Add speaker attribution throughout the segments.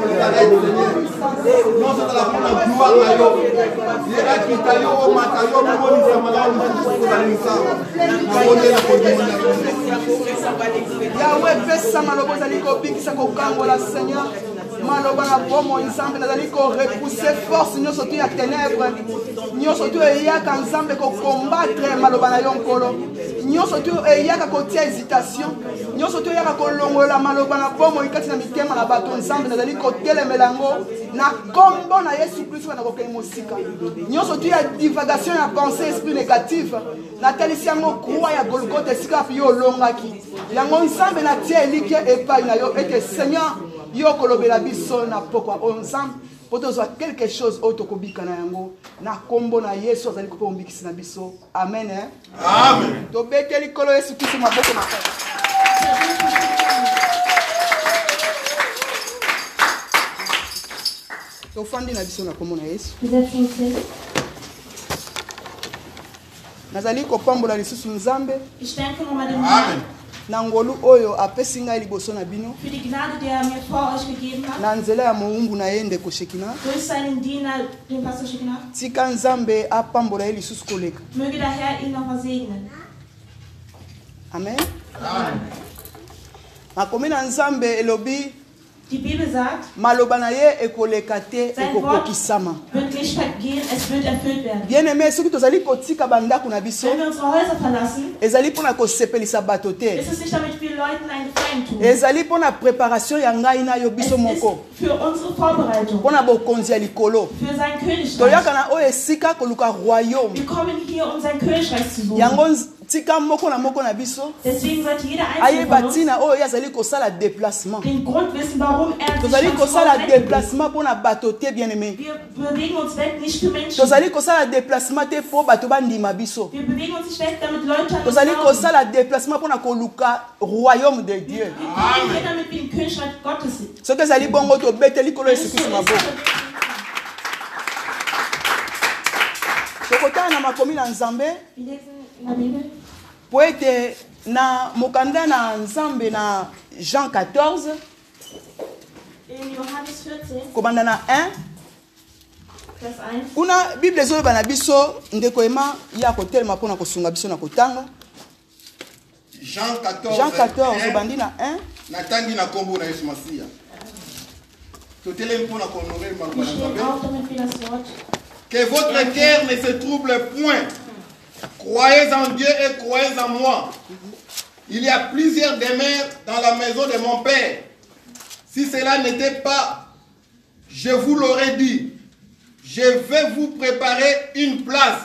Speaker 1: t'arrête, Seigneur. Nous sommes dans la gloire à Yo. Il est là qui t'a yo, au matin, yo, nous, on nous amène, on nous pousse dans les salles. Nous, on est là pour nous, on est là.
Speaker 2: yawe epesa maloba ozali kobikisa kokangola seigneur maloba na bomoi nzambe nazali korepousse force nyonso tu ya ténèbre nyonso tu eyaka nzambe kokombatre maloba na yo nkolo nyonso tu eyaka kotia hésitation nyonso tu eyaka kolongola maloba na bomoi kati na mitema na bato nzambe nazali kotelemela yango na kombo na yesu kristu na kokende mosika nyonso tu ya divagation ya pensée esprit négative natalisi yango krwa ya golgota esika wapi yo olongaki yango nzambe natia elike epai na yo ete seigneur yo kolobela biso na pokwa oyo nzambe mpo tozwa quelque chose oyo tokobika na yango na nkombo na yesu azali kope momikisi na biso amen eh?
Speaker 1: Amen.
Speaker 2: tobeteli kolo yesu kristo maboko makasi tofandi na biso na nkombo na yesu
Speaker 3: Vous êtes censés.
Speaker 2: nazali kopambola lisusu nzambe
Speaker 3: Ich danke nochmal dem
Speaker 1: Amen.
Speaker 3: Herrn
Speaker 2: na ngolu oyo apesi ngai liboso na bino
Speaker 3: für die Gnade, die er mir vor euch gegeben hat.
Speaker 2: na nzela ya mowumbu na ye ndeko shekina
Speaker 3: Durch seinen Diener, den Pastor Schickner.
Speaker 2: tika nzambe apambola ye lisusu koleka
Speaker 3: Möge der Herr ihn nochmal segnen.
Speaker 2: amen makomi na nzambe elobi
Speaker 3: Die Bibel sagt,
Speaker 2: maloba na ye ekoleka te ekokokisama
Speaker 3: wird nicht vergehen, es wird erfüllt werden.
Speaker 2: bien aime soki tozali kotika bandako na biso
Speaker 3: Wenn wir unsere Häuser verlassen,
Speaker 2: ezali mpo na kosepelisa bato te
Speaker 3: ist es nicht damit wir Leuten einen Gefallen tun. Es
Speaker 2: ezali mpo na préparation ya ngai na yo biso moko
Speaker 3: ist für unsere Vorbereitung,
Speaker 2: mpo na bokonzi ya likolo
Speaker 3: für sein Königreich.
Speaker 2: toyaka na oyo esika koluka royaume
Speaker 3: Wir kommen hier, um sein Königreich zu suchen.
Speaker 2: yango nz- tika moko na moko na biso
Speaker 3: Deswegen sollte jeder Einzelne
Speaker 2: ayeba
Speaker 3: von uns
Speaker 2: ntina oyo ye azali kosala déplacement
Speaker 3: den Grund wissen, warum er sich
Speaker 2: tozali
Speaker 3: schon
Speaker 2: kosala
Speaker 3: vorbewegt.
Speaker 2: déplacement mpo na bato te bien aime
Speaker 3: Wir bewegen uns weg, nicht für Menschen.
Speaker 2: tozali kosala déplacement te mpo bato bandima biso
Speaker 3: Wir bewegen uns nicht weg, damit Leute an uns
Speaker 2: tozali
Speaker 3: glauben.
Speaker 2: kosala déplacement mpo na koluka royaume de dieu
Speaker 3: Wir bewegen hier, damit wir im Königreich Gottes sind.
Speaker 2: soki ezali bongo tobeteli kolo yesu kristo maboko tokotala na makomi na nzambe
Speaker 3: Wir lesen in der Bibel,
Speaker 2: mpo ete na mokanda na nzambe na jean 14
Speaker 3: in Johannes 14,
Speaker 2: kobanda na 1
Speaker 3: Vers 1.
Speaker 2: kuna bible ezoloba na biso ndeko ema ya kotelema mpo na kosunga biso na kotanga
Speaker 1: Jean 14.
Speaker 2: jean 14
Speaker 1: eh,
Speaker 2: obandi na 1
Speaker 1: natangi na nkombo na yesu masiya totelemi mpona kohonore makambo
Speaker 3: Wir
Speaker 1: ya
Speaker 3: stehen
Speaker 1: nzambe
Speaker 3: auf, damit wir das Wort.
Speaker 1: que votre cœur ne se trouble point croyez en dieu et croyez en moi il y a plusieurs demeures dans la maison de mon père si cela n'était pas je vous l'aurais dit je vais vous préparer une place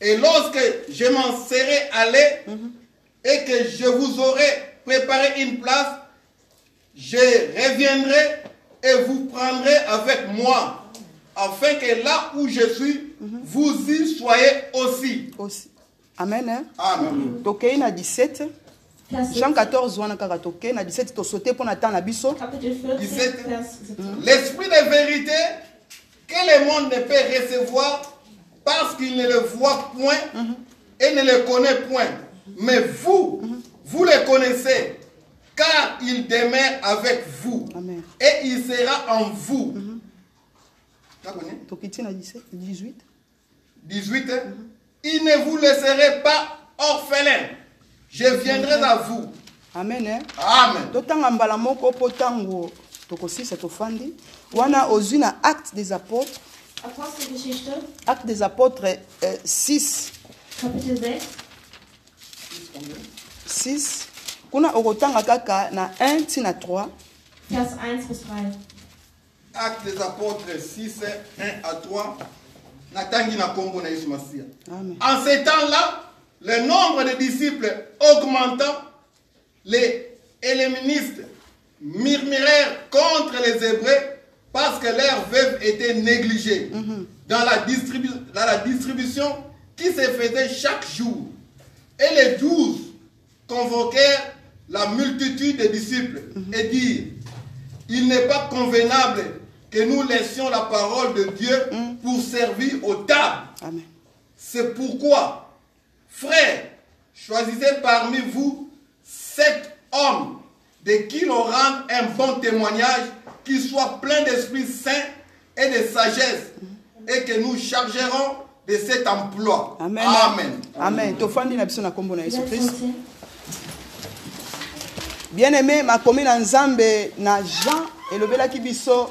Speaker 1: et lorsque je m'en serai allé et que je vous aurai préparé une place je reviendrai et vous prendrai avec moi, afin que là où je suis, vous y soyez aussi.
Speaker 2: Osi- amen hein?
Speaker 1: Amen.
Speaker 2: tokei na 17
Speaker 3: Vers
Speaker 2: jean
Speaker 3: 17,
Speaker 2: 14 wana kaka tokei na 17 tosaute mpo na ntango na biso
Speaker 3: Kapitel 14,
Speaker 1: 17.
Speaker 3: Vers 17.
Speaker 1: L'esprit de vérité que le monde ne peut recevoir parce qu'il ne le voit point et ne le connaît point. Mais vous, vous le connaissez, car il demeure avec vous
Speaker 2: Amen.
Speaker 1: et il sera en vous. T'as connu?
Speaker 2: tokiti na 17 18
Speaker 1: 18. hein, Il ne vous laisserait pas orphelin. Je viendrai à vous.
Speaker 2: amen hein?
Speaker 1: Amen.
Speaker 2: totanga mbala moko mpo ntango tokosilisa tofandi wana ozwi na acte des apôtres
Speaker 3: Apostelgeschichte,
Speaker 2: acte des apôtres eh, 6
Speaker 3: Kapitel 6,
Speaker 2: 6 kuna okotanga kaka na 1 ntina 3
Speaker 3: Vers 1 bis 3.
Speaker 1: Actes des apôtres 6, 1 à 3. Natangi na kombo na Yesu Masia.
Speaker 2: Amen.
Speaker 1: En ces temps-là, le nombre de disciples augmentant, les hellénistes murmurèrent contre les Hébreux parce que leurs veuves étaient négligées dans, la distribu- dans la distribution qui se faisait chaque jour. Et les douze convoquèrent la multitude des disciples et dirent, il n'est pas convenable que nous laissions la parole de Dieu pour servir aux tables.
Speaker 2: amen
Speaker 1: C'est pourquoi, frères, choisissez parmi vous sept hommes de qui l'on rende un bon témoignage qu'ils soient pleins d'Esprit Saint et de sagesse, et que nous chargerons de cet emploi.
Speaker 2: amen hein.
Speaker 1: Amen.
Speaker 2: amen tofandi na biso na nkombo na yesu
Speaker 3: Verse
Speaker 2: kristo
Speaker 3: 14.
Speaker 2: bien aimé makomi na nzambe na jean elobelaki biso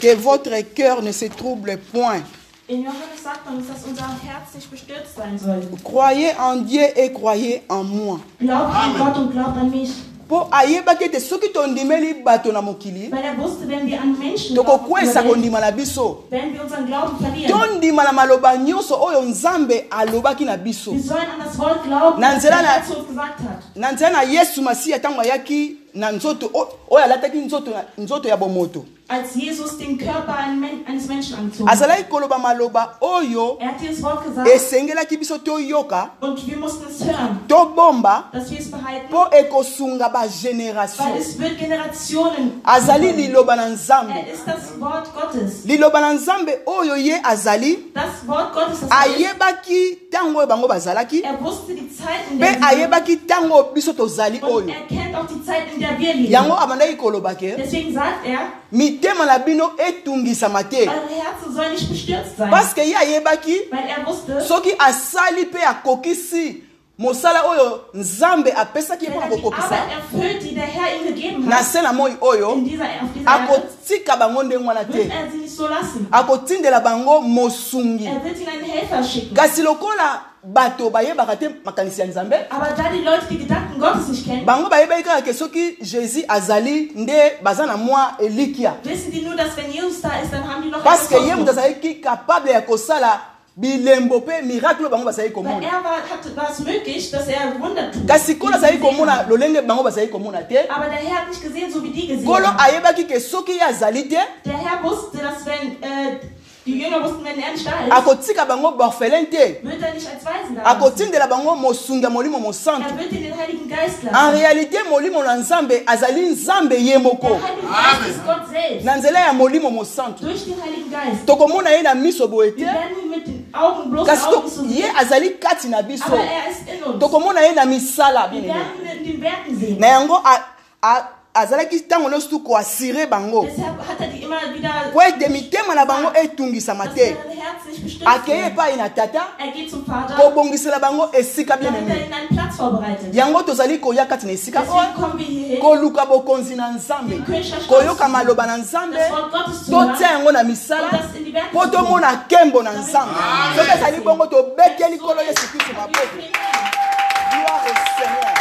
Speaker 2: que votre cœur ne se trouble point
Speaker 3: In Johannes sagt uns, dass unser Herz nicht bestürzt sein soll.
Speaker 2: croyez en dieu et croyez en moi
Speaker 3: Glaubt an
Speaker 1: Amen.
Speaker 3: Gott und glaubt an mich.
Speaker 2: mpo ayebaki ete soki tondimeli bato na mokili
Speaker 3: Weil er wusste, wenn wir an Menschen
Speaker 2: tokokwesa
Speaker 3: glauben,
Speaker 2: kondima na biso
Speaker 3: wenn wir unseren Glauben verlieren,
Speaker 2: tondima na maloba nyonso oyo nzambe alobaki na biso
Speaker 3: wir sollen an das Wort glauben,
Speaker 2: Na
Speaker 3: was
Speaker 2: nzela na-
Speaker 3: er zu uns gesagt hat.
Speaker 2: na nzela na yesu masiya ntango ayaki na nzoto o- oyo alataki nzoto, na- nzoto ya bomoto
Speaker 3: Als Jesus den Körper ein Men- eines Menschen anzog.
Speaker 2: azalaki koloba maloba oyo
Speaker 3: Er hat dieses Wort gesagt
Speaker 2: esengelaki biso toyoka
Speaker 3: und wir mussten es hören,
Speaker 2: tobomba
Speaker 3: dass wir es behalten,
Speaker 2: mpo ekosunga
Speaker 3: weil
Speaker 2: bageneration
Speaker 3: es wird Generationen.
Speaker 2: azali liloba na
Speaker 3: Er
Speaker 2: nzambe
Speaker 3: ist das Wort Gottes.
Speaker 2: liloba na nzambe oyo ye azali
Speaker 3: Das Wort Gottes, das er ist.
Speaker 2: ayebaki ntango oyo bango bazalaki
Speaker 3: Er wusste die Zeit, in
Speaker 2: mpe
Speaker 3: der wir leben.
Speaker 2: ayebaki ntango oyo biso tozali
Speaker 3: Und
Speaker 2: oyo
Speaker 3: er kennt auch die Zeit, in der wir leben.
Speaker 2: yango abandaki koloba ke
Speaker 3: Deswegen sagt er,
Speaker 2: mitema na bino etungisama te
Speaker 3: eure Herzen sollen nicht bestürzt sein.
Speaker 2: parceke ye ayebaki
Speaker 3: Weil er wusste,
Speaker 2: soki asali mpe akokisi mosala oyo nzambe apesaki ye
Speaker 3: wenn
Speaker 2: mpo na
Speaker 3: er die Arbeit
Speaker 2: kokokisa
Speaker 3: erfüllt, die der Herr ihm gegeben
Speaker 2: na
Speaker 3: hat,
Speaker 2: se na moi oyo
Speaker 3: in dieser, auf dieser Erde,
Speaker 2: akotika bango ndenge wana
Speaker 3: wird
Speaker 2: te
Speaker 3: er sie nicht so lassen.
Speaker 2: akotindela bango mosungi
Speaker 3: Er wird ihnen einen Helfer schicken.
Speaker 2: kasi lokola bato bayebaka te makanisi ya nzambe
Speaker 3: Aber da die Leute die Gedanken Gottes nicht kennen,
Speaker 2: bango bayebaki kaka ke soki jésus azali nde baza na mwa elikia
Speaker 3: wissen die nur, dass wenn Jesus da ist, dann haben die noch
Speaker 2: parceke
Speaker 3: etwas
Speaker 2: ye moto
Speaker 3: offen.
Speaker 2: azalaki capable ya kosala bilembo mpe miracle oyo bango bazalaki
Speaker 3: Weil
Speaker 2: komona
Speaker 3: er war, hat, war es möglich, dass er Wunder tut.
Speaker 2: kasi kolo
Speaker 3: die sie
Speaker 2: azalaki
Speaker 3: gesehen
Speaker 2: komona
Speaker 3: haben.
Speaker 2: lolenge bango bazalaki komona te
Speaker 3: Aber der Herr hat nicht gesehen, so wie die gesehen
Speaker 2: kolo
Speaker 3: haben.
Speaker 2: ayebaki ke soki ye azali te
Speaker 3: Der Herr wusste, dass wenn äh, die Jünger wussten, wenn er nicht da ist,
Speaker 2: akotika bango borfelin te
Speaker 3: wird er nicht als Weisen da. lassen.
Speaker 2: akotindela bango mosungi ya molimo
Speaker 3: Er
Speaker 2: mosantu
Speaker 3: wird ihnen den Heiligen Geist
Speaker 2: en
Speaker 3: lassen.
Speaker 2: réalité molimo na nzambe azali nzambe ye moko
Speaker 3: Der Heilige
Speaker 1: Amen.
Speaker 3: Geist ist Gott selbst.
Speaker 2: na nzela ya molimo mosantu
Speaker 3: Durch den Heiligen Geist.
Speaker 2: tokomona ye na miso boye
Speaker 3: Wir
Speaker 2: te
Speaker 3: werden ihn mit den Augen bloß
Speaker 2: kasi
Speaker 3: Augen
Speaker 2: to-
Speaker 3: zu
Speaker 2: ye
Speaker 3: sehen.
Speaker 2: azali kati na biso
Speaker 3: Aber er ist in uns.
Speaker 2: tokomona ye na misala
Speaker 3: Wir
Speaker 2: bien-aimé.
Speaker 3: werden ihn in den Werken sehen.
Speaker 2: na yango a- a- azalaki ntango nyonso tu koasire bango
Speaker 3: Deshalb hat er die immer wieder.
Speaker 2: po ete mitema na bango etungisama
Speaker 3: dass
Speaker 2: te
Speaker 3: deren Herz nicht bestimmt
Speaker 2: akeye
Speaker 3: wird.
Speaker 2: epai na tata
Speaker 3: Er geht zum Vater,
Speaker 2: kobongisela bango esika
Speaker 3: damit er
Speaker 2: bien-aime
Speaker 3: ihnen einen Platz vorbereitet.
Speaker 2: yango tozali koya kati na esika
Speaker 3: Deswegen
Speaker 2: oyo
Speaker 3: kommen wir hierhin,
Speaker 2: koluka bokonzi na nzambe
Speaker 3: Koyoka
Speaker 2: koyoka maloba na nzambe
Speaker 3: das Wort Gottes zu
Speaker 2: totia
Speaker 3: hören,
Speaker 2: yango na misala
Speaker 3: das in die Werke
Speaker 2: mpo
Speaker 3: zu tun.
Speaker 2: tomona nkembo na nzambe
Speaker 3: Amen.
Speaker 2: soki ezali bongo tobeteli
Speaker 3: So
Speaker 2: kolo
Speaker 3: ist-
Speaker 2: yesu kristu maboko
Speaker 3: Wir
Speaker 2: gloire au seigneur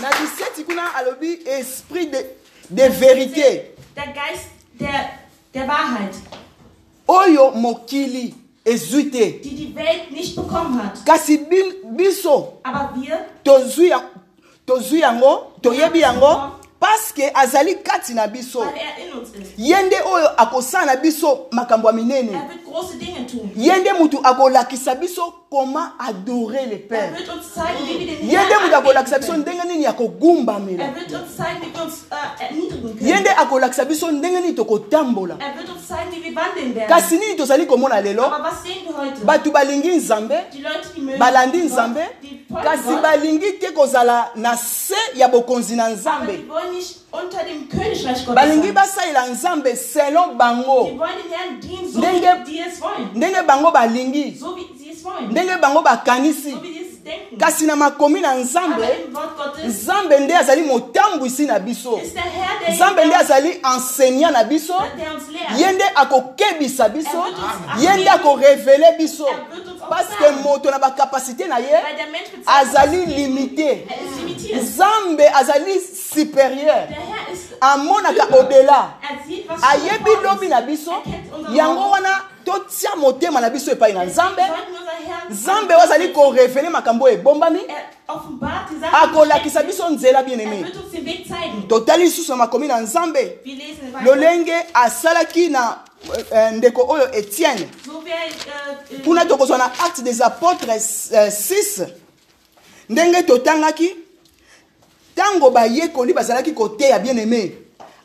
Speaker 2: na biseti kuna alobi esprit de, de
Speaker 3: predigen.
Speaker 2: vérité
Speaker 3: Der Geist der, der Wahrheit,
Speaker 2: oyo mokili ezwi te
Speaker 3: die die Welt nicht bekommen hat.
Speaker 2: kasi bi- biso
Speaker 3: Aber wir,
Speaker 2: tozwi ya- tozwi yango toyebi yango parceke azali kati na biso
Speaker 3: weil er in uns ist,
Speaker 2: ye nde oyo akosala na biso makambo ya minene
Speaker 3: er wird große Dinge tun.
Speaker 2: ye nde mutu akolakisa biso koma adore le
Speaker 3: Er
Speaker 2: père
Speaker 3: wird uns zeigen, wie wir den
Speaker 2: ye nde mutu
Speaker 3: Herrn
Speaker 2: akolakisa biso
Speaker 3: anbeten können.
Speaker 2: ndenge nini ya kogumbamela
Speaker 3: Er wird uns zeigen, wie wir uns äh, erniedrigen
Speaker 2: ye
Speaker 3: können.
Speaker 2: nde akolakisa biso ndenge nini tokotambola
Speaker 3: Er wird uns zeigen, wie wir wandeln werden.
Speaker 2: kasi nini tozali komona lelo
Speaker 3: Aber was sehen wir heute?
Speaker 2: bato balingi nzambe
Speaker 3: Die Leute, die mögen
Speaker 2: balandi
Speaker 3: Gott,
Speaker 2: nzambe
Speaker 3: die folgen
Speaker 2: kasi
Speaker 3: Gott,
Speaker 2: balingi te kozala na se ya bokonzi na
Speaker 3: aber
Speaker 2: nzambe
Speaker 3: die wollen nicht unter dem Königreich Gottes
Speaker 2: balingi
Speaker 3: sein.
Speaker 2: basalela nzambe selon bango
Speaker 3: Die wollen den Herrn dienen, so
Speaker 2: Ndenge-
Speaker 3: wie die es wollen.
Speaker 2: ndenge bango balingi
Speaker 3: So wie sie es wollen.
Speaker 2: ndenge bango bakanisi
Speaker 3: So wie sie es denken.
Speaker 2: kasi na makomi na
Speaker 3: aber
Speaker 2: nzambe
Speaker 3: im Wort Gottes
Speaker 2: nzambe nde azali motambwisi na biso
Speaker 3: ist der Herr, der,
Speaker 2: nzambe nde
Speaker 3: der,
Speaker 2: azali enseignant na biso
Speaker 3: der uns lehrt.
Speaker 2: ye nde akokebisa biso
Speaker 3: Amen.
Speaker 2: ye nde akorevele biso
Speaker 3: Amen.
Speaker 2: parceke moto na bakapasité na ye
Speaker 3: Weil der Mensch bezahlt.
Speaker 2: azali limité
Speaker 3: Er ist limitiert.
Speaker 2: nzambe azali
Speaker 3: Der
Speaker 2: supérieur
Speaker 3: Herr ist.
Speaker 2: amonaka odela
Speaker 3: Er sieht, was
Speaker 2: ayebi
Speaker 3: vor uns
Speaker 2: lobi
Speaker 3: ist.
Speaker 2: na biso
Speaker 3: Er kennt unser
Speaker 2: yango
Speaker 3: Wort.
Speaker 2: wana totia motema na biso epai na nzambe
Speaker 3: Wir sollten unser Herrn-
Speaker 2: nzambe oyo azali korevele makambo oyo ebombami
Speaker 3: Er offenbart die Sachen.
Speaker 2: akolakisa biso nzela
Speaker 3: Er
Speaker 2: bien-aime
Speaker 3: wird uns den Weg zeigen.
Speaker 2: totali lisusu na makomi na nzambe
Speaker 3: Wir lesen weiter.
Speaker 2: lolenge asalaki na eh, eh, ndeko oyo etienne
Speaker 3: So wie äh,
Speaker 2: kuna tokozwa na acte des apôtres eh, 6 ndenge totangaki ntango bayekoli bazalaki koteya bien-aime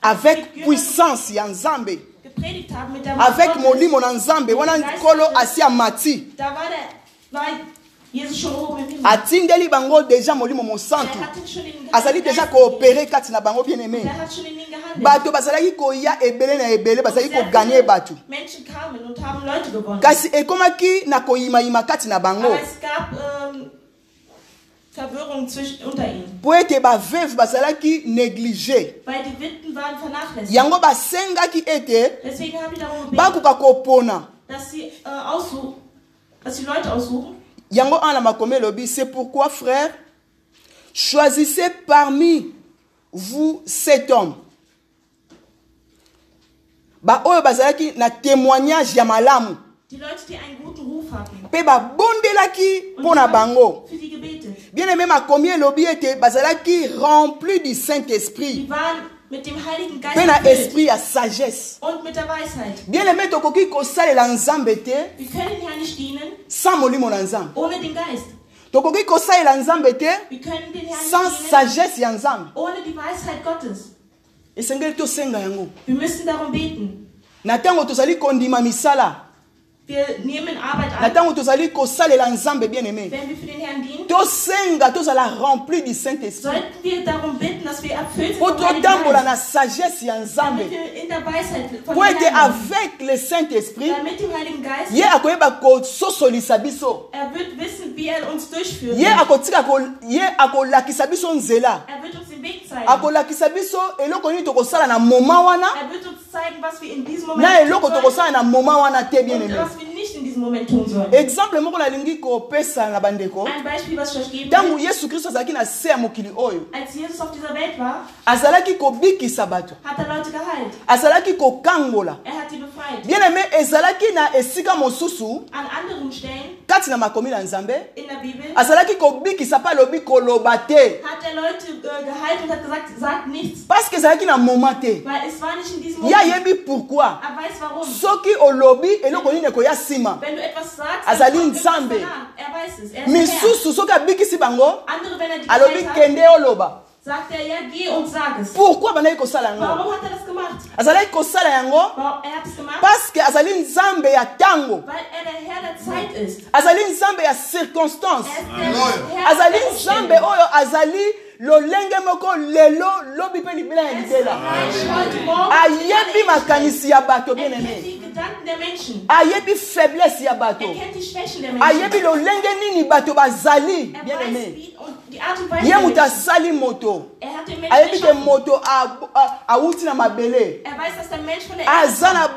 Speaker 2: avec puissance ya nzambe
Speaker 3: gepredigt haben mit der
Speaker 2: avec
Speaker 3: Macht Gottes,
Speaker 2: molimo na nzambe wana nkolo asia mati
Speaker 3: da war der, war yezisholo omemini
Speaker 2: atindeli bango deja molimo mosantu azali deja koopere kati na bango bien aime bato bazalaki koya ebele na ebele bazalaki koganye bato
Speaker 3: Menschen kamen und haben Leute gewonnen.
Speaker 2: kasi ekomaki na koyimayima kati na bango
Speaker 3: Aber es gab ähm, Verwirrung zwischen, unter ihnen,
Speaker 2: mpo ete baveuve bazalaki néglige
Speaker 3: weil die Witten waren vernachlässigt.
Speaker 2: yango basengaki ete
Speaker 3: Deswegen haben die darum gebeten,
Speaker 2: bakoka kopona
Speaker 3: dass sie äh, aussuchen, dass die Leute aussuchen.
Speaker 2: yango wana makomi elobi c'est pourquoi frère choisissez parmi vous cet homme baoyo bazalaki na témoignage ya malamu
Speaker 3: Die Leute, die einen guten Ruf hatten.
Speaker 2: mpe babondelaki
Speaker 3: Und
Speaker 2: mpo na bango
Speaker 3: für die Gebete.
Speaker 2: bien aime makomi elobi ete bazalaki rempli du saint esprit
Speaker 3: Die waren mit dem Heiligen Geist
Speaker 2: mpe na
Speaker 3: erfüllt
Speaker 2: esprit ya sagesse
Speaker 3: und mit der Weisheit.
Speaker 2: bien aime tokoki kosalela nzambe te
Speaker 3: Wir können dem Herrn nicht dienen
Speaker 2: sans molimo na nzambe
Speaker 3: ohne den Geist.
Speaker 2: tokoki kosalela nzambe te
Speaker 3: Wir können den Herrn
Speaker 2: sans
Speaker 3: nicht dienen
Speaker 2: sagesse ya nzambe
Speaker 3: ohne die Weisheit Gottes.
Speaker 2: esengeli tosenga yango
Speaker 3: Wir müssen darum beten.
Speaker 2: na ntango tozali kondima misala
Speaker 3: Wir nehmen Arbeit
Speaker 2: na
Speaker 3: an,
Speaker 2: ntango tozali kosalela nzambe bien aime
Speaker 3: wenn wir für den Herrn dienen.
Speaker 2: tosenga tozala rempli du saint esprit
Speaker 3: sollten wir darum bitten, dass wir erfüllt sind
Speaker 2: mpo
Speaker 3: vom Heiligen
Speaker 2: totambola
Speaker 3: Geist,
Speaker 2: na sagesse ya
Speaker 3: damit
Speaker 2: nzambe
Speaker 3: wir in der Weisheit von
Speaker 2: mpo
Speaker 3: dem
Speaker 2: ete
Speaker 3: Herrn sind.
Speaker 2: avec le saint esprit
Speaker 3: damit dem Heiligen Geist,
Speaker 2: ye akoyeba kososolisa biso
Speaker 3: er wird wissen, wie er uns durchführt.
Speaker 2: ye akotika ko- ye akolakisa biso nzela
Speaker 3: Er wird uns den Weg zeigen.
Speaker 2: akolakisa biso eloko nini tokosala na moma wana
Speaker 3: Er wird uns zeigen, was wir in diesem
Speaker 2: na
Speaker 3: Moment
Speaker 2: eloko
Speaker 3: tun
Speaker 2: tokosala na moma wana te bien
Speaker 3: sollen und
Speaker 2: aime
Speaker 3: was wir nicht in diesem Moment tun sollen.
Speaker 2: exemple moko nalingi kopesa na bandeko
Speaker 3: Ein Beispiel, was ich euch geben
Speaker 2: ntango
Speaker 3: will.
Speaker 2: yesu kristo azalaki na se ya mokili oyo
Speaker 3: Als Jesus auf dieser Welt war,
Speaker 2: azalaki kobikisa bato
Speaker 3: hat er Leute geheilt.
Speaker 2: azalaki kokangola
Speaker 3: Er hat sie befreit.
Speaker 2: bien aime ezalaki na esika mosusu
Speaker 3: An anderen Stellen
Speaker 2: kati na makomi na nzambe
Speaker 3: in der Bibel
Speaker 2: azalaki kobikisa mpe alobi koloba te
Speaker 3: hat er Leute äh, geheilt und hat gesagt, sagt nichts.
Speaker 2: parceke ezalaki na moma te
Speaker 3: Weil es war nicht in diesem
Speaker 2: ye
Speaker 3: Moment.
Speaker 2: ayebi pourkui
Speaker 3: Er weiß warum.
Speaker 2: soki olobi eloko nini ekoya nsima
Speaker 3: Wenn du etwas sagst,
Speaker 2: Azali
Speaker 3: dann kommt etwas
Speaker 2: Nzambe.
Speaker 3: danach. Er weiß es. Er ist der Herr.
Speaker 2: misusu soki abikisi bango
Speaker 3: Andere, wenn er dich
Speaker 2: alobi
Speaker 3: geheilt
Speaker 2: kende oloba
Speaker 3: hat, sagt er, ja, geh und sag es.
Speaker 2: pourkui bandaki kosala yango
Speaker 3: Warum hat er das gemacht?
Speaker 2: azalaki kosala yango
Speaker 3: Warum- Er hat es gemacht,
Speaker 2: parceke azali nzambe ya ntango
Speaker 3: weil er der Herr der Zeit ist.
Speaker 2: azali nzambe ya circonstance
Speaker 3: Er ist der
Speaker 1: Halleluja.
Speaker 3: Herr
Speaker 2: azali
Speaker 3: der Umstände.
Speaker 2: nzambe oyo azali lolenge moko lelo lobi mpe libela ya
Speaker 3: Er ist
Speaker 2: libela
Speaker 3: reich heute Morgen.
Speaker 2: Ah, ayebi makanisi ya bato
Speaker 3: Er
Speaker 2: bien
Speaker 3: kennt
Speaker 2: aime
Speaker 3: die Gedanken der Menschen.
Speaker 2: ayebi faiblesse ya
Speaker 3: Er
Speaker 2: bato
Speaker 3: kennt die Schwächen der
Speaker 2: ayebi
Speaker 3: Menschen.
Speaker 2: lolenge nini bato bazali
Speaker 3: Er
Speaker 2: bien
Speaker 3: weiß,
Speaker 2: aime
Speaker 3: wie und die Art und Weise
Speaker 2: ye
Speaker 3: der
Speaker 2: moto
Speaker 3: Menschen.
Speaker 2: asali moto
Speaker 3: Er hat den Menschen
Speaker 2: ayebi te
Speaker 3: geschaffen.
Speaker 2: moto a- a- awuti na mabele
Speaker 3: Er weiß, dass der Mensch von der Erde
Speaker 2: aza na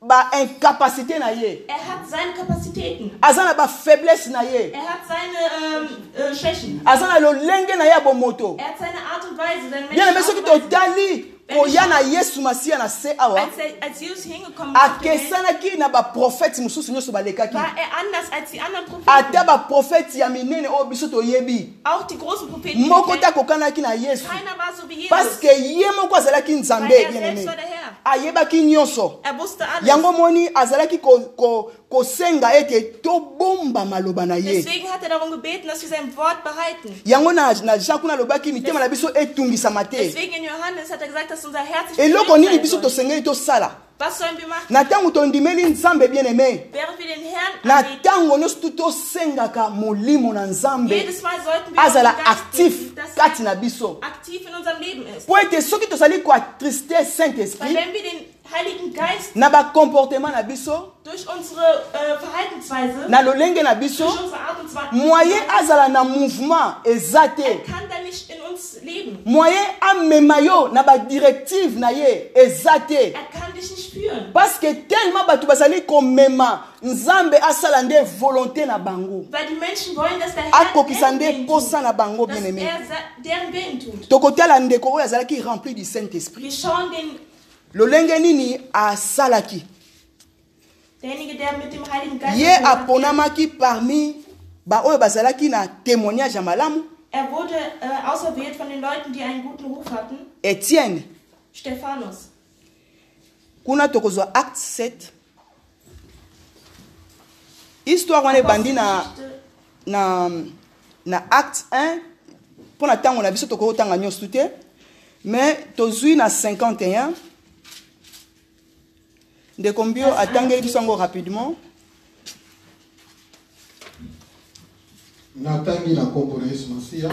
Speaker 2: baincapacité na ye
Speaker 3: Er hat seine Kapazitäten.
Speaker 2: aza na bafaiblesse na ye
Speaker 3: Er hat seine ähm, äh, Schwächen.
Speaker 2: aza na lolenge na ye ya bomoto
Speaker 3: Er hat seine Art und Weise, seine
Speaker 2: bien aime
Speaker 3: Art
Speaker 2: soki
Speaker 3: und Weise.
Speaker 2: totali koya na yesu masiya na se awa
Speaker 3: Als, er, als Jesus hingekommen
Speaker 2: Ah,
Speaker 3: ist, auf der Welt,
Speaker 2: akesanaki na baprofete mosusu nyonso balekaki
Speaker 3: war er anders als die anderen Propheten.
Speaker 2: ata baprofete ya minene oyo biso toyebi
Speaker 3: Auch die großen Propheten. die
Speaker 2: moko
Speaker 3: wir
Speaker 2: te
Speaker 3: kennen.
Speaker 2: akokanaki na yesu
Speaker 3: Keiner war so wie Jesus.
Speaker 2: parceke ye moko azalaki
Speaker 3: Weil
Speaker 2: nzambe
Speaker 3: er
Speaker 2: bien
Speaker 3: selbst war
Speaker 2: aime
Speaker 3: der Herr.
Speaker 2: ayebaki nyonso
Speaker 3: Er wusste alles.
Speaker 2: yango moni azalaki ko- ko- kosenga ete tobomba maloba na ye
Speaker 3: Deswegen hat er darum gebeten, dass wir sein Wort behalten.
Speaker 2: yango na na jean kuna alobaki mitema na biso etungisama te
Speaker 3: Deswegen in Johannes hat er gesagt, dass unser Herz sich
Speaker 2: eloko nini
Speaker 3: bewegt
Speaker 2: biso
Speaker 3: sein soll.
Speaker 2: tosengeli tosala
Speaker 3: Was sollen wir machen?
Speaker 2: na ntango tondimeli nzambe bien aime
Speaker 3: Während wir den Herrn
Speaker 2: na
Speaker 3: anbeten,
Speaker 2: ntango nyonso tu tosengaka molimo na nzambe
Speaker 3: jedes Mal sollten wir
Speaker 2: azala
Speaker 3: den Geist
Speaker 2: actif
Speaker 3: beten, dass
Speaker 2: kati
Speaker 3: er
Speaker 2: na biso
Speaker 3: aktiv in unserem Leben ist.
Speaker 2: mpo ete soki tozali koatriste saint
Speaker 3: Weil
Speaker 2: esprit
Speaker 3: wenn wir den Heiligen Geist
Speaker 2: na bacomportema na biso
Speaker 3: durch unsere äh, Verhaltensweise,
Speaker 2: na eh, lolenge na
Speaker 3: durch
Speaker 2: biso
Speaker 3: unsere Art und Weise,
Speaker 2: moyen azala na mouvement eza te
Speaker 3: kann da nicht in uns leben.
Speaker 2: moyen amema yo na badirective na ye eza te
Speaker 3: Er kann dich nicht führen.
Speaker 2: parceke tellement bato bazali komema nzambe asala nde volonté na bango
Speaker 3: Weil die Menschen wollen, dass der Herr
Speaker 2: akokisa
Speaker 3: deren
Speaker 2: nde
Speaker 3: Willen
Speaker 2: posa
Speaker 3: tut.
Speaker 2: na bango
Speaker 3: Dass
Speaker 2: bien aime
Speaker 3: er sa- deren Willen tut.
Speaker 2: tokotala ndeko oyo azalaki rempli du saint esprit
Speaker 3: Wir schauen den,
Speaker 2: lolenge nini asalaki
Speaker 3: derjenige, der mit dem Heiligen Geist
Speaker 2: ye
Speaker 3: erfüllt war.
Speaker 2: aponamaki parmi baoyo bazalaki na témoignage ya malamu
Speaker 3: Er wurde äh, auserwählt von den Leuten, die einen guten Ruf hatten.
Speaker 2: etienne
Speaker 3: Stephanus.
Speaker 2: kuna tokozwa acte 7 histoire wana ebandi na,
Speaker 3: Apostelgeschichte
Speaker 2: na, na acte 1 mpo na ntango na biso tokokotanga nyonso te mais tozwi na 51 ndeko mbio atangeli biso yango rapidement
Speaker 1: natangi na nkombo na yesu masiya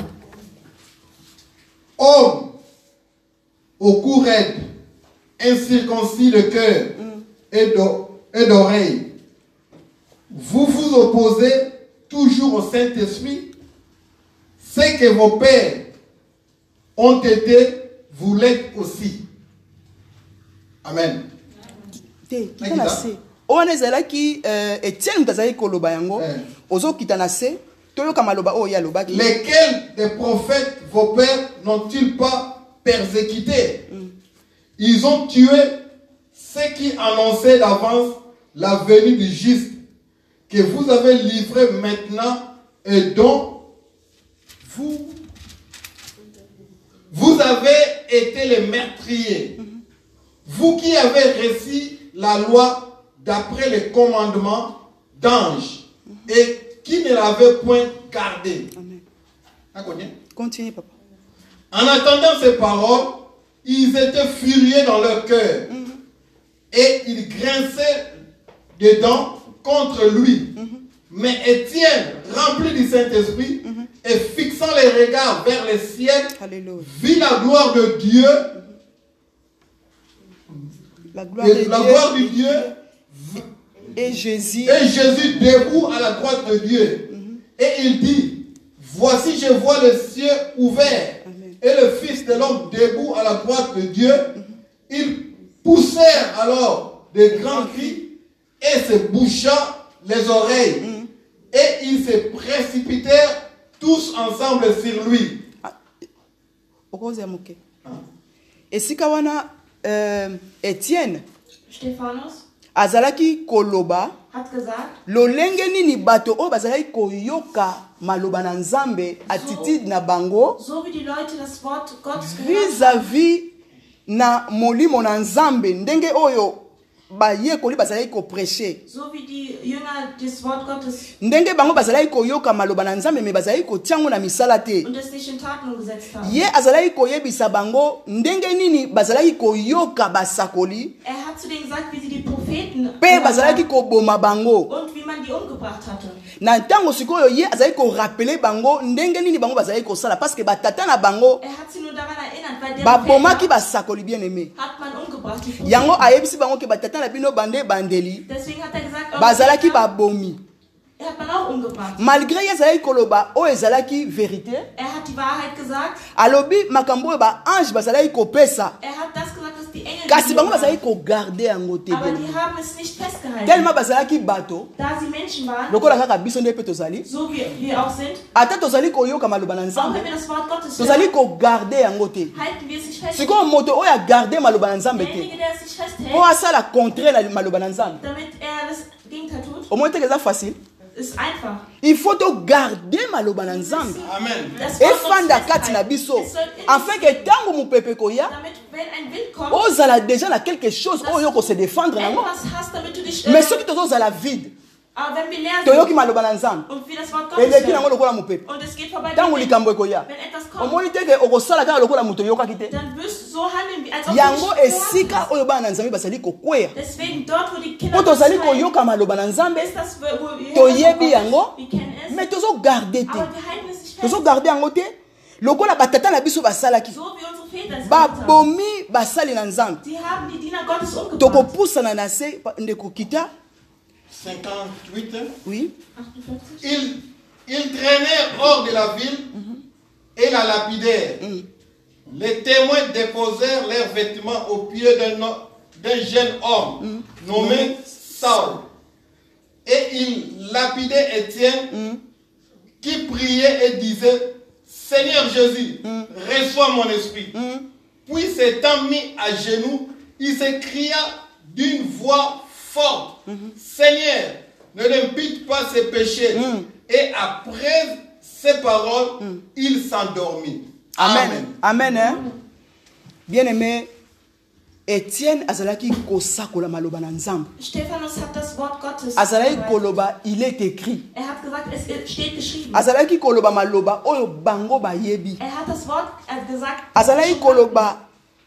Speaker 1: homme au cou raide incirconcis de cœur et d'o- et d'oreille vous vous opposez toujours au Saint-Esprit ce que vos pères ont été vous l'êtes aussi amen
Speaker 2: te kita na se oyo wana ezalaki eh, etienne moto azalaki koloba yango
Speaker 1: Eh.
Speaker 2: ozokita na se toyoka maloba oyo ye alobaki
Speaker 1: Lesquels des prophètes, vos pères, n'ont-ils pas persécuté Ils ont tué ceux qui annonçaient d'avance la venue du juste, que vous avez livré maintenant et dont vous, vous avez été les meurtriers. Vous qui avez reçu la loi d'après les commandements d'ange et qui ne l'avez point gardée.
Speaker 2: Amen.
Speaker 1: Ah, combien
Speaker 2: continue papa
Speaker 1: En attendant ces paroles, ils étaient furieux dans leur cœur
Speaker 2: Mm-hmm.
Speaker 1: et ils grinçaient des dents contre lui.
Speaker 2: Mm-hmm.
Speaker 1: Mais Étienne, rempli du Saint-Esprit
Speaker 2: Mm-hmm.
Speaker 1: et fixant les regards vers le ciel,
Speaker 2: alléluia
Speaker 1: vit la gloire de Dieu
Speaker 2: la gloire
Speaker 1: et la gloire
Speaker 2: de
Speaker 1: du Eh.
Speaker 2: dieu
Speaker 1: Dieu
Speaker 2: et jésus
Speaker 1: et Jésus debout à la droite de Dieu. Et il dit, voici je vois le ciel ouvert
Speaker 2: Amen.
Speaker 1: et le Fils de l'homme debout à la droite de Dieu. Ils poussèrent alors de grands cris et se boucha les oreilles. Et ils se précipitèrent tous ensemble sur lui.
Speaker 2: okozela moke
Speaker 1: Ah.
Speaker 2: esika wana eh, etienne
Speaker 3: Stephanus
Speaker 2: azalaki koloba
Speaker 3: hat gesagt,
Speaker 2: lolenge nini bato oyo bazalaki koyoka maloba na nzambe attitude na bango
Speaker 3: so wie die Leute das Wort Gottes gehört haben,
Speaker 2: vis-à-vis na molimo na nzambe ndenge oyo bayekoli bazalaki kopreshe
Speaker 3: so wie die Jünger das Wort Gottes
Speaker 2: ndenge bango bazalaki koyoka maloba na nzambe me bazalaki kotia yango na misala te
Speaker 3: und es nicht in Taten umgesetzt haben.
Speaker 2: ye azalaki koyebisa bango ndenge nini bazalaki koyoka basakoli
Speaker 3: Er hat zu denen gesagt, wie sie die Propheten
Speaker 2: mpe
Speaker 3: umgebracht
Speaker 2: bazalaki
Speaker 3: haben
Speaker 2: koboma bango
Speaker 3: und wie man die umgebracht hatte.
Speaker 2: na ntango sikoyo ye azalaki korapele bango ndenge nini bango bazalaki kosala parceke batata na bango
Speaker 3: Er hat sie nur daran erinnert, weil der
Speaker 2: babomaki basakoli bien aime
Speaker 3: hat man umgebracht. Die Propheten.
Speaker 2: yango ayebisi bango ke batata na bino bande ebandeli
Speaker 3: Deswegen hat er gesagt, eure
Speaker 2: bazalaki
Speaker 3: Väter
Speaker 2: babomi
Speaker 3: hat man auch umgebracht.
Speaker 2: malgré ye azalaki koloba oyo ezalaki verité
Speaker 3: Er hat die Wahrheit gesagt.
Speaker 2: alobi makambo oyo baange bazalaki kopesa
Speaker 3: Er hat das gesagt, was die Engel
Speaker 2: kasi bango
Speaker 3: gegeben
Speaker 2: bazalaki
Speaker 3: haben.
Speaker 2: kogarde yango te
Speaker 3: Aber die haben es nicht festgehalten.
Speaker 2: telema bazalaki bato
Speaker 3: Da sie Menschen waren,
Speaker 2: lokola kaka biso nde mpe tozali
Speaker 3: so wie wir auch sind,
Speaker 2: ata tozali koyoka maloba na
Speaker 3: auch wenn
Speaker 2: nzambe
Speaker 3: wir das Wort Gottes
Speaker 2: tozali
Speaker 3: hören,
Speaker 2: kogarde yango te
Speaker 3: halten wir es nicht fest.
Speaker 2: sikoyo moto oyo agarde maloba na nzambe
Speaker 3: Derjenige,
Speaker 2: te
Speaker 3: der es nicht
Speaker 2: mpo
Speaker 3: festhält,
Speaker 2: asala contraire na maloba na nzambe
Speaker 3: damit er das Gegenteil tut,
Speaker 2: omoi teke eza facile
Speaker 3: ist einfach.
Speaker 2: il faut togarde maloba na nzambe
Speaker 1: Amen.
Speaker 3: Das Wort
Speaker 2: efanda
Speaker 3: Gottes
Speaker 2: kati na
Speaker 3: festhalten.
Speaker 2: biso
Speaker 3: Es soll in
Speaker 2: afin
Speaker 3: uns
Speaker 2: ke
Speaker 3: sein,
Speaker 2: ntango mopepe koya
Speaker 3: Damit, wenn ein Wind kommt,
Speaker 2: ozala deja na quelque chose oyo oko se défendre nango
Speaker 3: etwas hast, damit du dich
Speaker 2: mais soki tozozala vide
Speaker 3: Aber wenn wir leer
Speaker 2: toyoki
Speaker 3: sind
Speaker 2: maloba na nzambe
Speaker 3: und wir das Wort Gottes
Speaker 2: eleki nango
Speaker 3: hören,
Speaker 2: lokola mopepe
Speaker 3: und es geht vorbei,
Speaker 2: ntango
Speaker 3: wenn
Speaker 2: likambo ekoya
Speaker 3: etwas kommt,
Speaker 2: omoni teke okosala kaka lokola moto oyokaki te
Speaker 3: dann wirst du so handeln, wie als ob
Speaker 2: yango
Speaker 3: du nicht
Speaker 2: esika
Speaker 3: gehört
Speaker 2: oyo bana na nzambe bazali kokweya
Speaker 3: hast. Deswegen dort, wo die Kinder
Speaker 2: mpo tozali
Speaker 3: Gottes heilen,
Speaker 2: koyoka maloba na nzambe
Speaker 3: ist das, wo wo wir
Speaker 2: toyebi
Speaker 3: herkommen.
Speaker 2: yango
Speaker 3: Wir kennen es,
Speaker 2: me tozogarde
Speaker 3: aber
Speaker 2: te
Speaker 3: wir halten es nicht fest.
Speaker 2: tozogarde yango te lokola batata na biso basalaki
Speaker 3: So wie unsere Väter es gemacht haben.
Speaker 2: babomi basali na nzambe
Speaker 3: Die haben die Diener Gottes umgebracht.
Speaker 2: tokopusana na se pa- ndeko kita
Speaker 1: 58.
Speaker 2: oui
Speaker 3: 48.
Speaker 1: Ils, ils traînèrent hors de la ville et la lapidèrent. Les témoins déposèrent leurs vêtements aux pieds d'un ho- d'un jeune homme nommé Saul. Et ils lapidaient Étienne qui priait et disait, Seigneur Jésus, reçois mon esprit. Puis s'étant mis à genoux, il s'écria d'une voix forte, Seigneur, ne l'impute pas ses péchés. Et après ces paroles, il s'endormit.
Speaker 2: amen amen hein? bien aimé etienne azalaki kosakola maloba na nzambe
Speaker 3: Stephanus hat das Wort Gottes.
Speaker 2: azalaki
Speaker 3: verbreitet.
Speaker 2: koloba il est écrit
Speaker 3: Er hat gesagt, es steht geschrieben.
Speaker 2: azalaki koloba maloba oyo bango bayebi
Speaker 3: Er hat das Wort äh, gesagt.
Speaker 2: azalaki koloba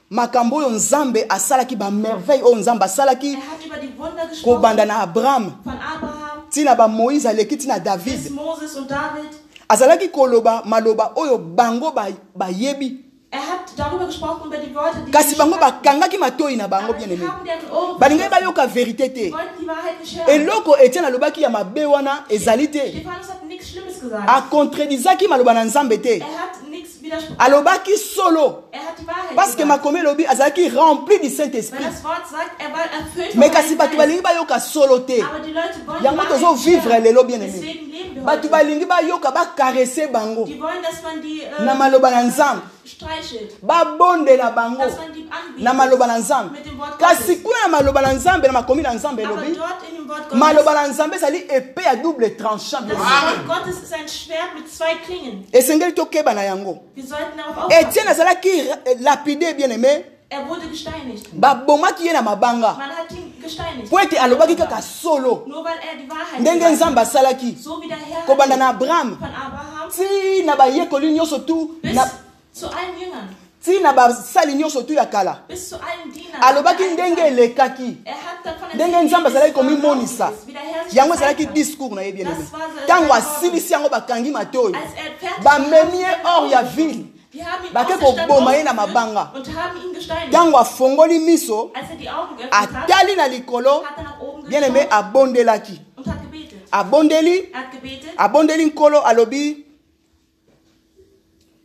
Speaker 2: makambo oyo nzambe asalaki bamerveille oyo nzambe asalaki
Speaker 3: Er hat über die Wunder gesprochen
Speaker 2: kobanda na abrahame
Speaker 3: von Abraham,
Speaker 2: ntina bamoïse aleki ntina
Speaker 3: bis
Speaker 2: davide
Speaker 3: Moses und David.
Speaker 2: azalaki koloba maloba oyo bango ba- bayebi
Speaker 3: Er hat darüber gesprochen, über die Worte, die
Speaker 2: kasi
Speaker 3: sie
Speaker 2: bango
Speaker 3: sprachen.
Speaker 2: bakangaki matoi na bango
Speaker 3: Aber
Speaker 2: bien
Speaker 3: sie
Speaker 2: aimé
Speaker 3: haben deren Ohren
Speaker 2: balingaki bayoka verité te
Speaker 3: wollten die Wahrheit nicht hören.
Speaker 2: eloko etienne alobaki ya mabe wana ezali te
Speaker 3: Stephanus hat nichts Schlimmes
Speaker 2: Ah,
Speaker 3: gesagt.
Speaker 2: akontredizaki maloba na nzambe te
Speaker 3: Er hat nichts widersprochen.
Speaker 2: alobaki solo
Speaker 3: Er hat die Wahrheit
Speaker 2: Ah. parce que
Speaker 3: gesagt.
Speaker 2: makomi elobi azalaki rempli du saint esprit
Speaker 3: Weil das Wort sagt, er war erfüllt vom
Speaker 2: me kasi bato balingi
Speaker 3: Heiligen
Speaker 2: bayoka solo te
Speaker 3: Geist. Aber die Leute wollen
Speaker 2: yango
Speaker 3: die Wahrheit
Speaker 2: tozovivre
Speaker 3: hören.
Speaker 2: lelo bien aimé
Speaker 3: Deswegen leben wir
Speaker 2: bato
Speaker 3: heute.
Speaker 2: balingi bayoka bakarese bango
Speaker 3: Die wollen, dass man die
Speaker 2: na
Speaker 3: äh,
Speaker 2: maloba na nzambe
Speaker 3: streichelt.
Speaker 2: babondela bango
Speaker 3: Dass man die
Speaker 2: na
Speaker 3: anbietet.
Speaker 2: maloba na nzambe kasi kuna na maloba na nzambe na makomi na nzambe
Speaker 3: Aber
Speaker 2: elobi
Speaker 3: dort in dem Wort
Speaker 2: maloba
Speaker 3: Gottes,
Speaker 2: na nzambe ezali epe ya double tranchant bien
Speaker 3: das
Speaker 2: aimé.
Speaker 3: Wort Gottes ist ein Schwert mit zwei Klingen.
Speaker 2: esengeli tokeba na yango
Speaker 3: Wir sollten darauf aufpassen.
Speaker 2: etienne azalaki ra- eh, lapide bien aimé
Speaker 3: Er wurde gesteinigt.
Speaker 2: babomaki ye na mabanga
Speaker 3: Man hat ihn gesteinigt.
Speaker 2: po ete alobaki kaka solo
Speaker 3: Nur weil er die Wahrheit
Speaker 2: ndenge
Speaker 3: gesagt hat.
Speaker 2: nzambe asalaki
Speaker 3: So wie der Herr
Speaker 2: kobanda na
Speaker 3: von
Speaker 2: abrahame
Speaker 3: Abraham
Speaker 2: ti na bayekoli nyonso tu
Speaker 3: bis
Speaker 2: na-
Speaker 3: zu allen Jüngern,
Speaker 2: ti na basali nyonso tu ya kala
Speaker 3: bis zu allen Dienern.
Speaker 2: alobaki
Speaker 3: Er hat-
Speaker 2: ndenge elekaki
Speaker 3: Er hat davon
Speaker 2: ndenge
Speaker 3: erzählt,
Speaker 2: nzambe
Speaker 3: wie
Speaker 2: azalaki
Speaker 3: es war,
Speaker 2: komimonisa
Speaker 3: wie der Herr sich
Speaker 2: yango
Speaker 3: gezeigt
Speaker 2: ezalaki
Speaker 3: hat.
Speaker 2: discours na ye bien aimé
Speaker 3: Das war the-
Speaker 2: ntango
Speaker 3: the-
Speaker 2: asilisi yango bakangi matoyi
Speaker 3: Als er fertig
Speaker 2: bamemi ye
Speaker 3: war,
Speaker 2: hors ya ville
Speaker 3: die haben ihn
Speaker 2: Bake
Speaker 3: aus der Stadt
Speaker 2: koboma ye na
Speaker 3: rausgeführt
Speaker 2: mabanga.
Speaker 3: und haben ihn gesteinigt.
Speaker 2: ntango afongoli miso
Speaker 3: Als er die Augen geöffnet
Speaker 2: Ah,
Speaker 3: hat,
Speaker 2: atali na likolo
Speaker 3: hat er nach oben
Speaker 2: bien aimé
Speaker 3: geschaut
Speaker 2: abondelaki
Speaker 3: und hat gebetet.
Speaker 2: abondeli
Speaker 3: Er hat gebetet
Speaker 2: abondeli nkolo alobi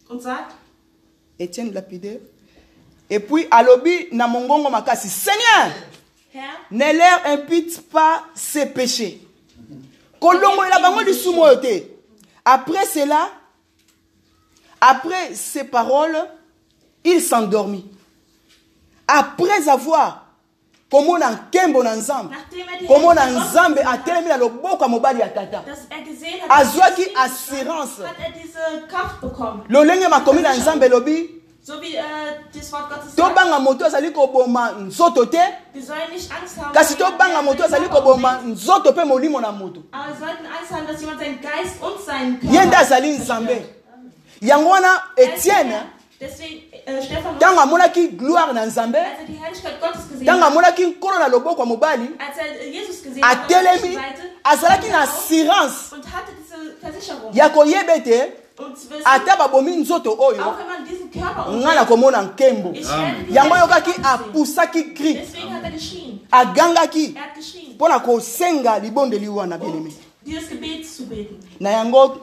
Speaker 3: und sagt,
Speaker 2: etienne lapide epuis alobi na mongongo makasi seigneur
Speaker 3: Herr,
Speaker 2: ne leur impute pas ses péchés kolongolela bango lisumu oyo te après cela après ces paroles il s'endormit après avoir komona nkembo na nzambe
Speaker 3: nachdem er die
Speaker 2: komona
Speaker 3: Hände
Speaker 2: nzambe
Speaker 3: geöffnet hat,
Speaker 2: atelemi na loboko ya mobali ya tata
Speaker 3: dass er gesehen hat,
Speaker 2: Azwaki
Speaker 3: dass er gesehen
Speaker 2: assurance.
Speaker 3: hat er diese Kraft bekommen.
Speaker 2: lolenge makomi na nzambe elobi
Speaker 3: So wie äh, das Wort Gottes sagt,
Speaker 2: tobanga moto azali koboma nzoto te
Speaker 3: wir sollen nicht Angst haben.
Speaker 2: kasi
Speaker 3: dass
Speaker 2: tobanga
Speaker 3: jemand
Speaker 2: moto azali
Speaker 3: seinen Körper
Speaker 2: koboma
Speaker 3: umbringt.
Speaker 2: nzoto mpe molimo na moto
Speaker 3: Aber wir sollten Angst haben, dass jemand seinen Geist und seinen
Speaker 2: ye nde
Speaker 3: Körper
Speaker 2: azali nzambe yango wana etienne
Speaker 3: Etienne, deswegen äh, Stefan,
Speaker 2: ntango amonaki gloire na nzambe
Speaker 3: als er die Herrlichkeit Gottes gesehen
Speaker 2: ntango
Speaker 3: hat,
Speaker 2: amonaki nkolo na loboko ya mobali
Speaker 3: als er äh, Jesus gesehen hat, auf der
Speaker 2: atelemi
Speaker 3: rechten Seite,
Speaker 2: azalaki na
Speaker 3: stand er auf
Speaker 2: assurance
Speaker 3: und hatte diese Versicherung.
Speaker 2: ya koyeba ete
Speaker 3: Und zu wissen,
Speaker 2: ata babomi nzoto
Speaker 3: auch
Speaker 2: oyo
Speaker 3: wenn man diesen Körper
Speaker 2: ngai
Speaker 3: umbringt,
Speaker 2: nakomona nkembo
Speaker 3: ich werde die
Speaker 2: yango
Speaker 3: Herrlichkeit
Speaker 2: oyokaki
Speaker 3: Gottes sehen.
Speaker 2: apusaki kri
Speaker 3: Deswegen hat er geschrien.
Speaker 2: agangaki
Speaker 3: Er hat geschrien,
Speaker 2: mpo na kosenga libondeli wana
Speaker 3: um
Speaker 2: bieneme
Speaker 3: dieses Gebet zu beten.
Speaker 2: na yango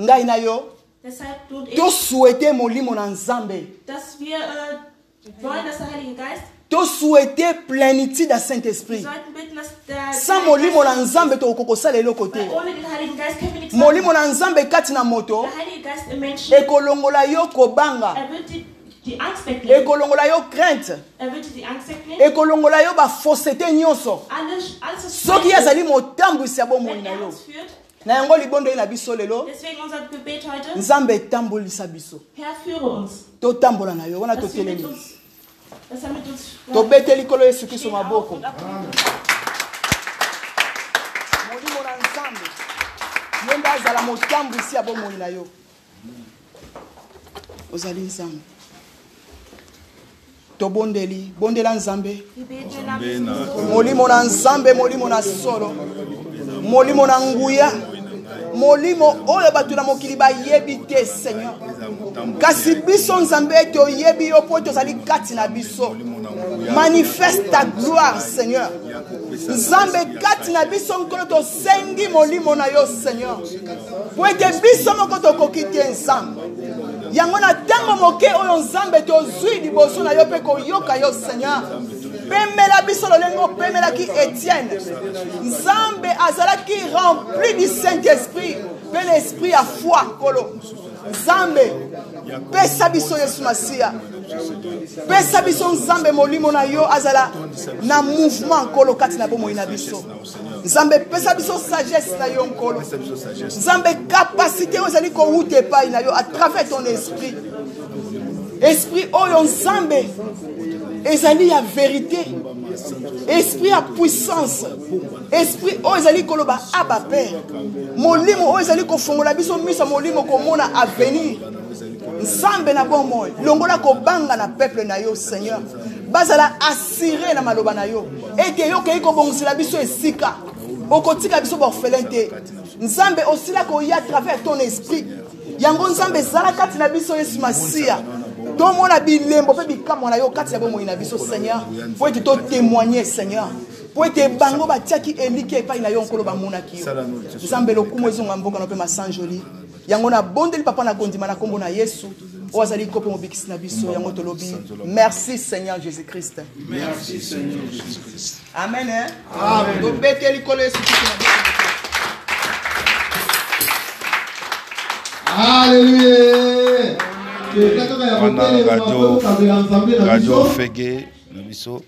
Speaker 2: ngai na yo
Speaker 3: Deshalb du und ich,
Speaker 2: tosuete molimo na nzambe
Speaker 3: dass wir äh, wollen, dass der Heilige Geist,
Speaker 2: tosuete plénitude ya
Speaker 3: wir
Speaker 2: saint-esprit
Speaker 3: sollten bitten, dass der
Speaker 2: sans
Speaker 3: Heilige
Speaker 2: molimo na
Speaker 3: Geist,
Speaker 2: nzambe tokoki kosala eloko
Speaker 3: weil
Speaker 2: te
Speaker 3: ohne den Heiligen Geist können wir nichts
Speaker 2: molimo
Speaker 3: machen.
Speaker 2: na nzambe kati na moto
Speaker 3: Der Heilige Geist im Menschen,
Speaker 2: ekolongola yo kobanga
Speaker 3: er wird die, die Angst wegnehmen,
Speaker 2: ekolongola yo crainte
Speaker 3: er wird dir die Angst wegnehmen,
Speaker 2: ekolongola yo bafosete nyonso
Speaker 3: alles, alles was
Speaker 2: soki ye
Speaker 3: frei ist,
Speaker 2: azali motambwisi ya bomoi
Speaker 3: wenn
Speaker 2: na
Speaker 3: er
Speaker 2: yo
Speaker 3: uns führt.
Speaker 2: na yango libondeli na biso lelo
Speaker 3: Deswegen unser Gebet heute,
Speaker 2: nzambe etambolisa biso
Speaker 3: Herr, führe uns,
Speaker 2: totambola na yo wana
Speaker 3: dass, wir mit
Speaker 2: totelemi
Speaker 3: uns, dass er mit uns
Speaker 2: tobete likolo yesu kristo
Speaker 3: Stehen auf
Speaker 2: maboko
Speaker 3: und ab.
Speaker 2: molimo na nzambe ye nde azala motambwisi ya bomoi na yo ozali nzambe tobondeli bondela nzambe
Speaker 3: Wir beten im Namen
Speaker 4: Amen.
Speaker 3: Jesu.
Speaker 2: molimo na nzambe molimo na solo molimo na nguya molimo oyo bato na mokili bayebi te seigneur kasi biso nzambe toyebi yo mpo tozali kati na biso manifeste ta gloire seigneur nzambe kati na biso nkolo tosengi molimo na yo seigneur po ete biso moko tokoki te nzambe yango na ntango moke oyo nzambe tozwi liboso na yo mpe koyoka yo seigneur pemela biso lolenge opemelaki etienne nzambe azalaki rempli du saint esprit mpe l'esprit ya foi nkolo nzambe pesa biso yesu masiya pesa biso nzambe molimo na yo azala na mouvement nkolo kati na bomoi na biso nzambe pesa biso sagesse na yo nkolo nzambe kapasité oyo ezali kowuta epai na yo à travers ton esprit esprit oyo nzambe ezali ya vérité esprit ya puissance esprit oyo ezali koloba aba père molimo oyo ezali kofongola biso miso ya molimo komona avenir nzambe na bomoi longola kobanga na peuple na yo seigneur bazala assuré na maloba na yo ete yo okei kobongisela biso esika okotika biso baorphelin te nzambe osila koya à travers ton esprit yango nzambe ezala kati na biso yesu masiya tomona bilembo mpe bikamwa na yo kati na bomoi na biso seigneur mpo ete totémoigne seigneur mpo ete bango batiaki elike epai na yo nkolo bamonaki yo nzambe lokumu ezonga mboka na mpe masanjoli yango nabondeli papa na kondima na nkombo na yesu oyo azali ko mpe mobikisi na biso yango tolobi merci seigneur jésus christ
Speaker 1: Merci Seigneur Jésus-Christ.
Speaker 2: amen eh? tobeteli kolo yesu Kristo na biso.
Speaker 4: Alléluia. Que quelqu'un qui a
Speaker 5: Pendant
Speaker 4: voté,
Speaker 5: Radio-
Speaker 4: on va tous aller ensemble dans la
Speaker 5: radio
Speaker 4: mission.
Speaker 5: fege na biso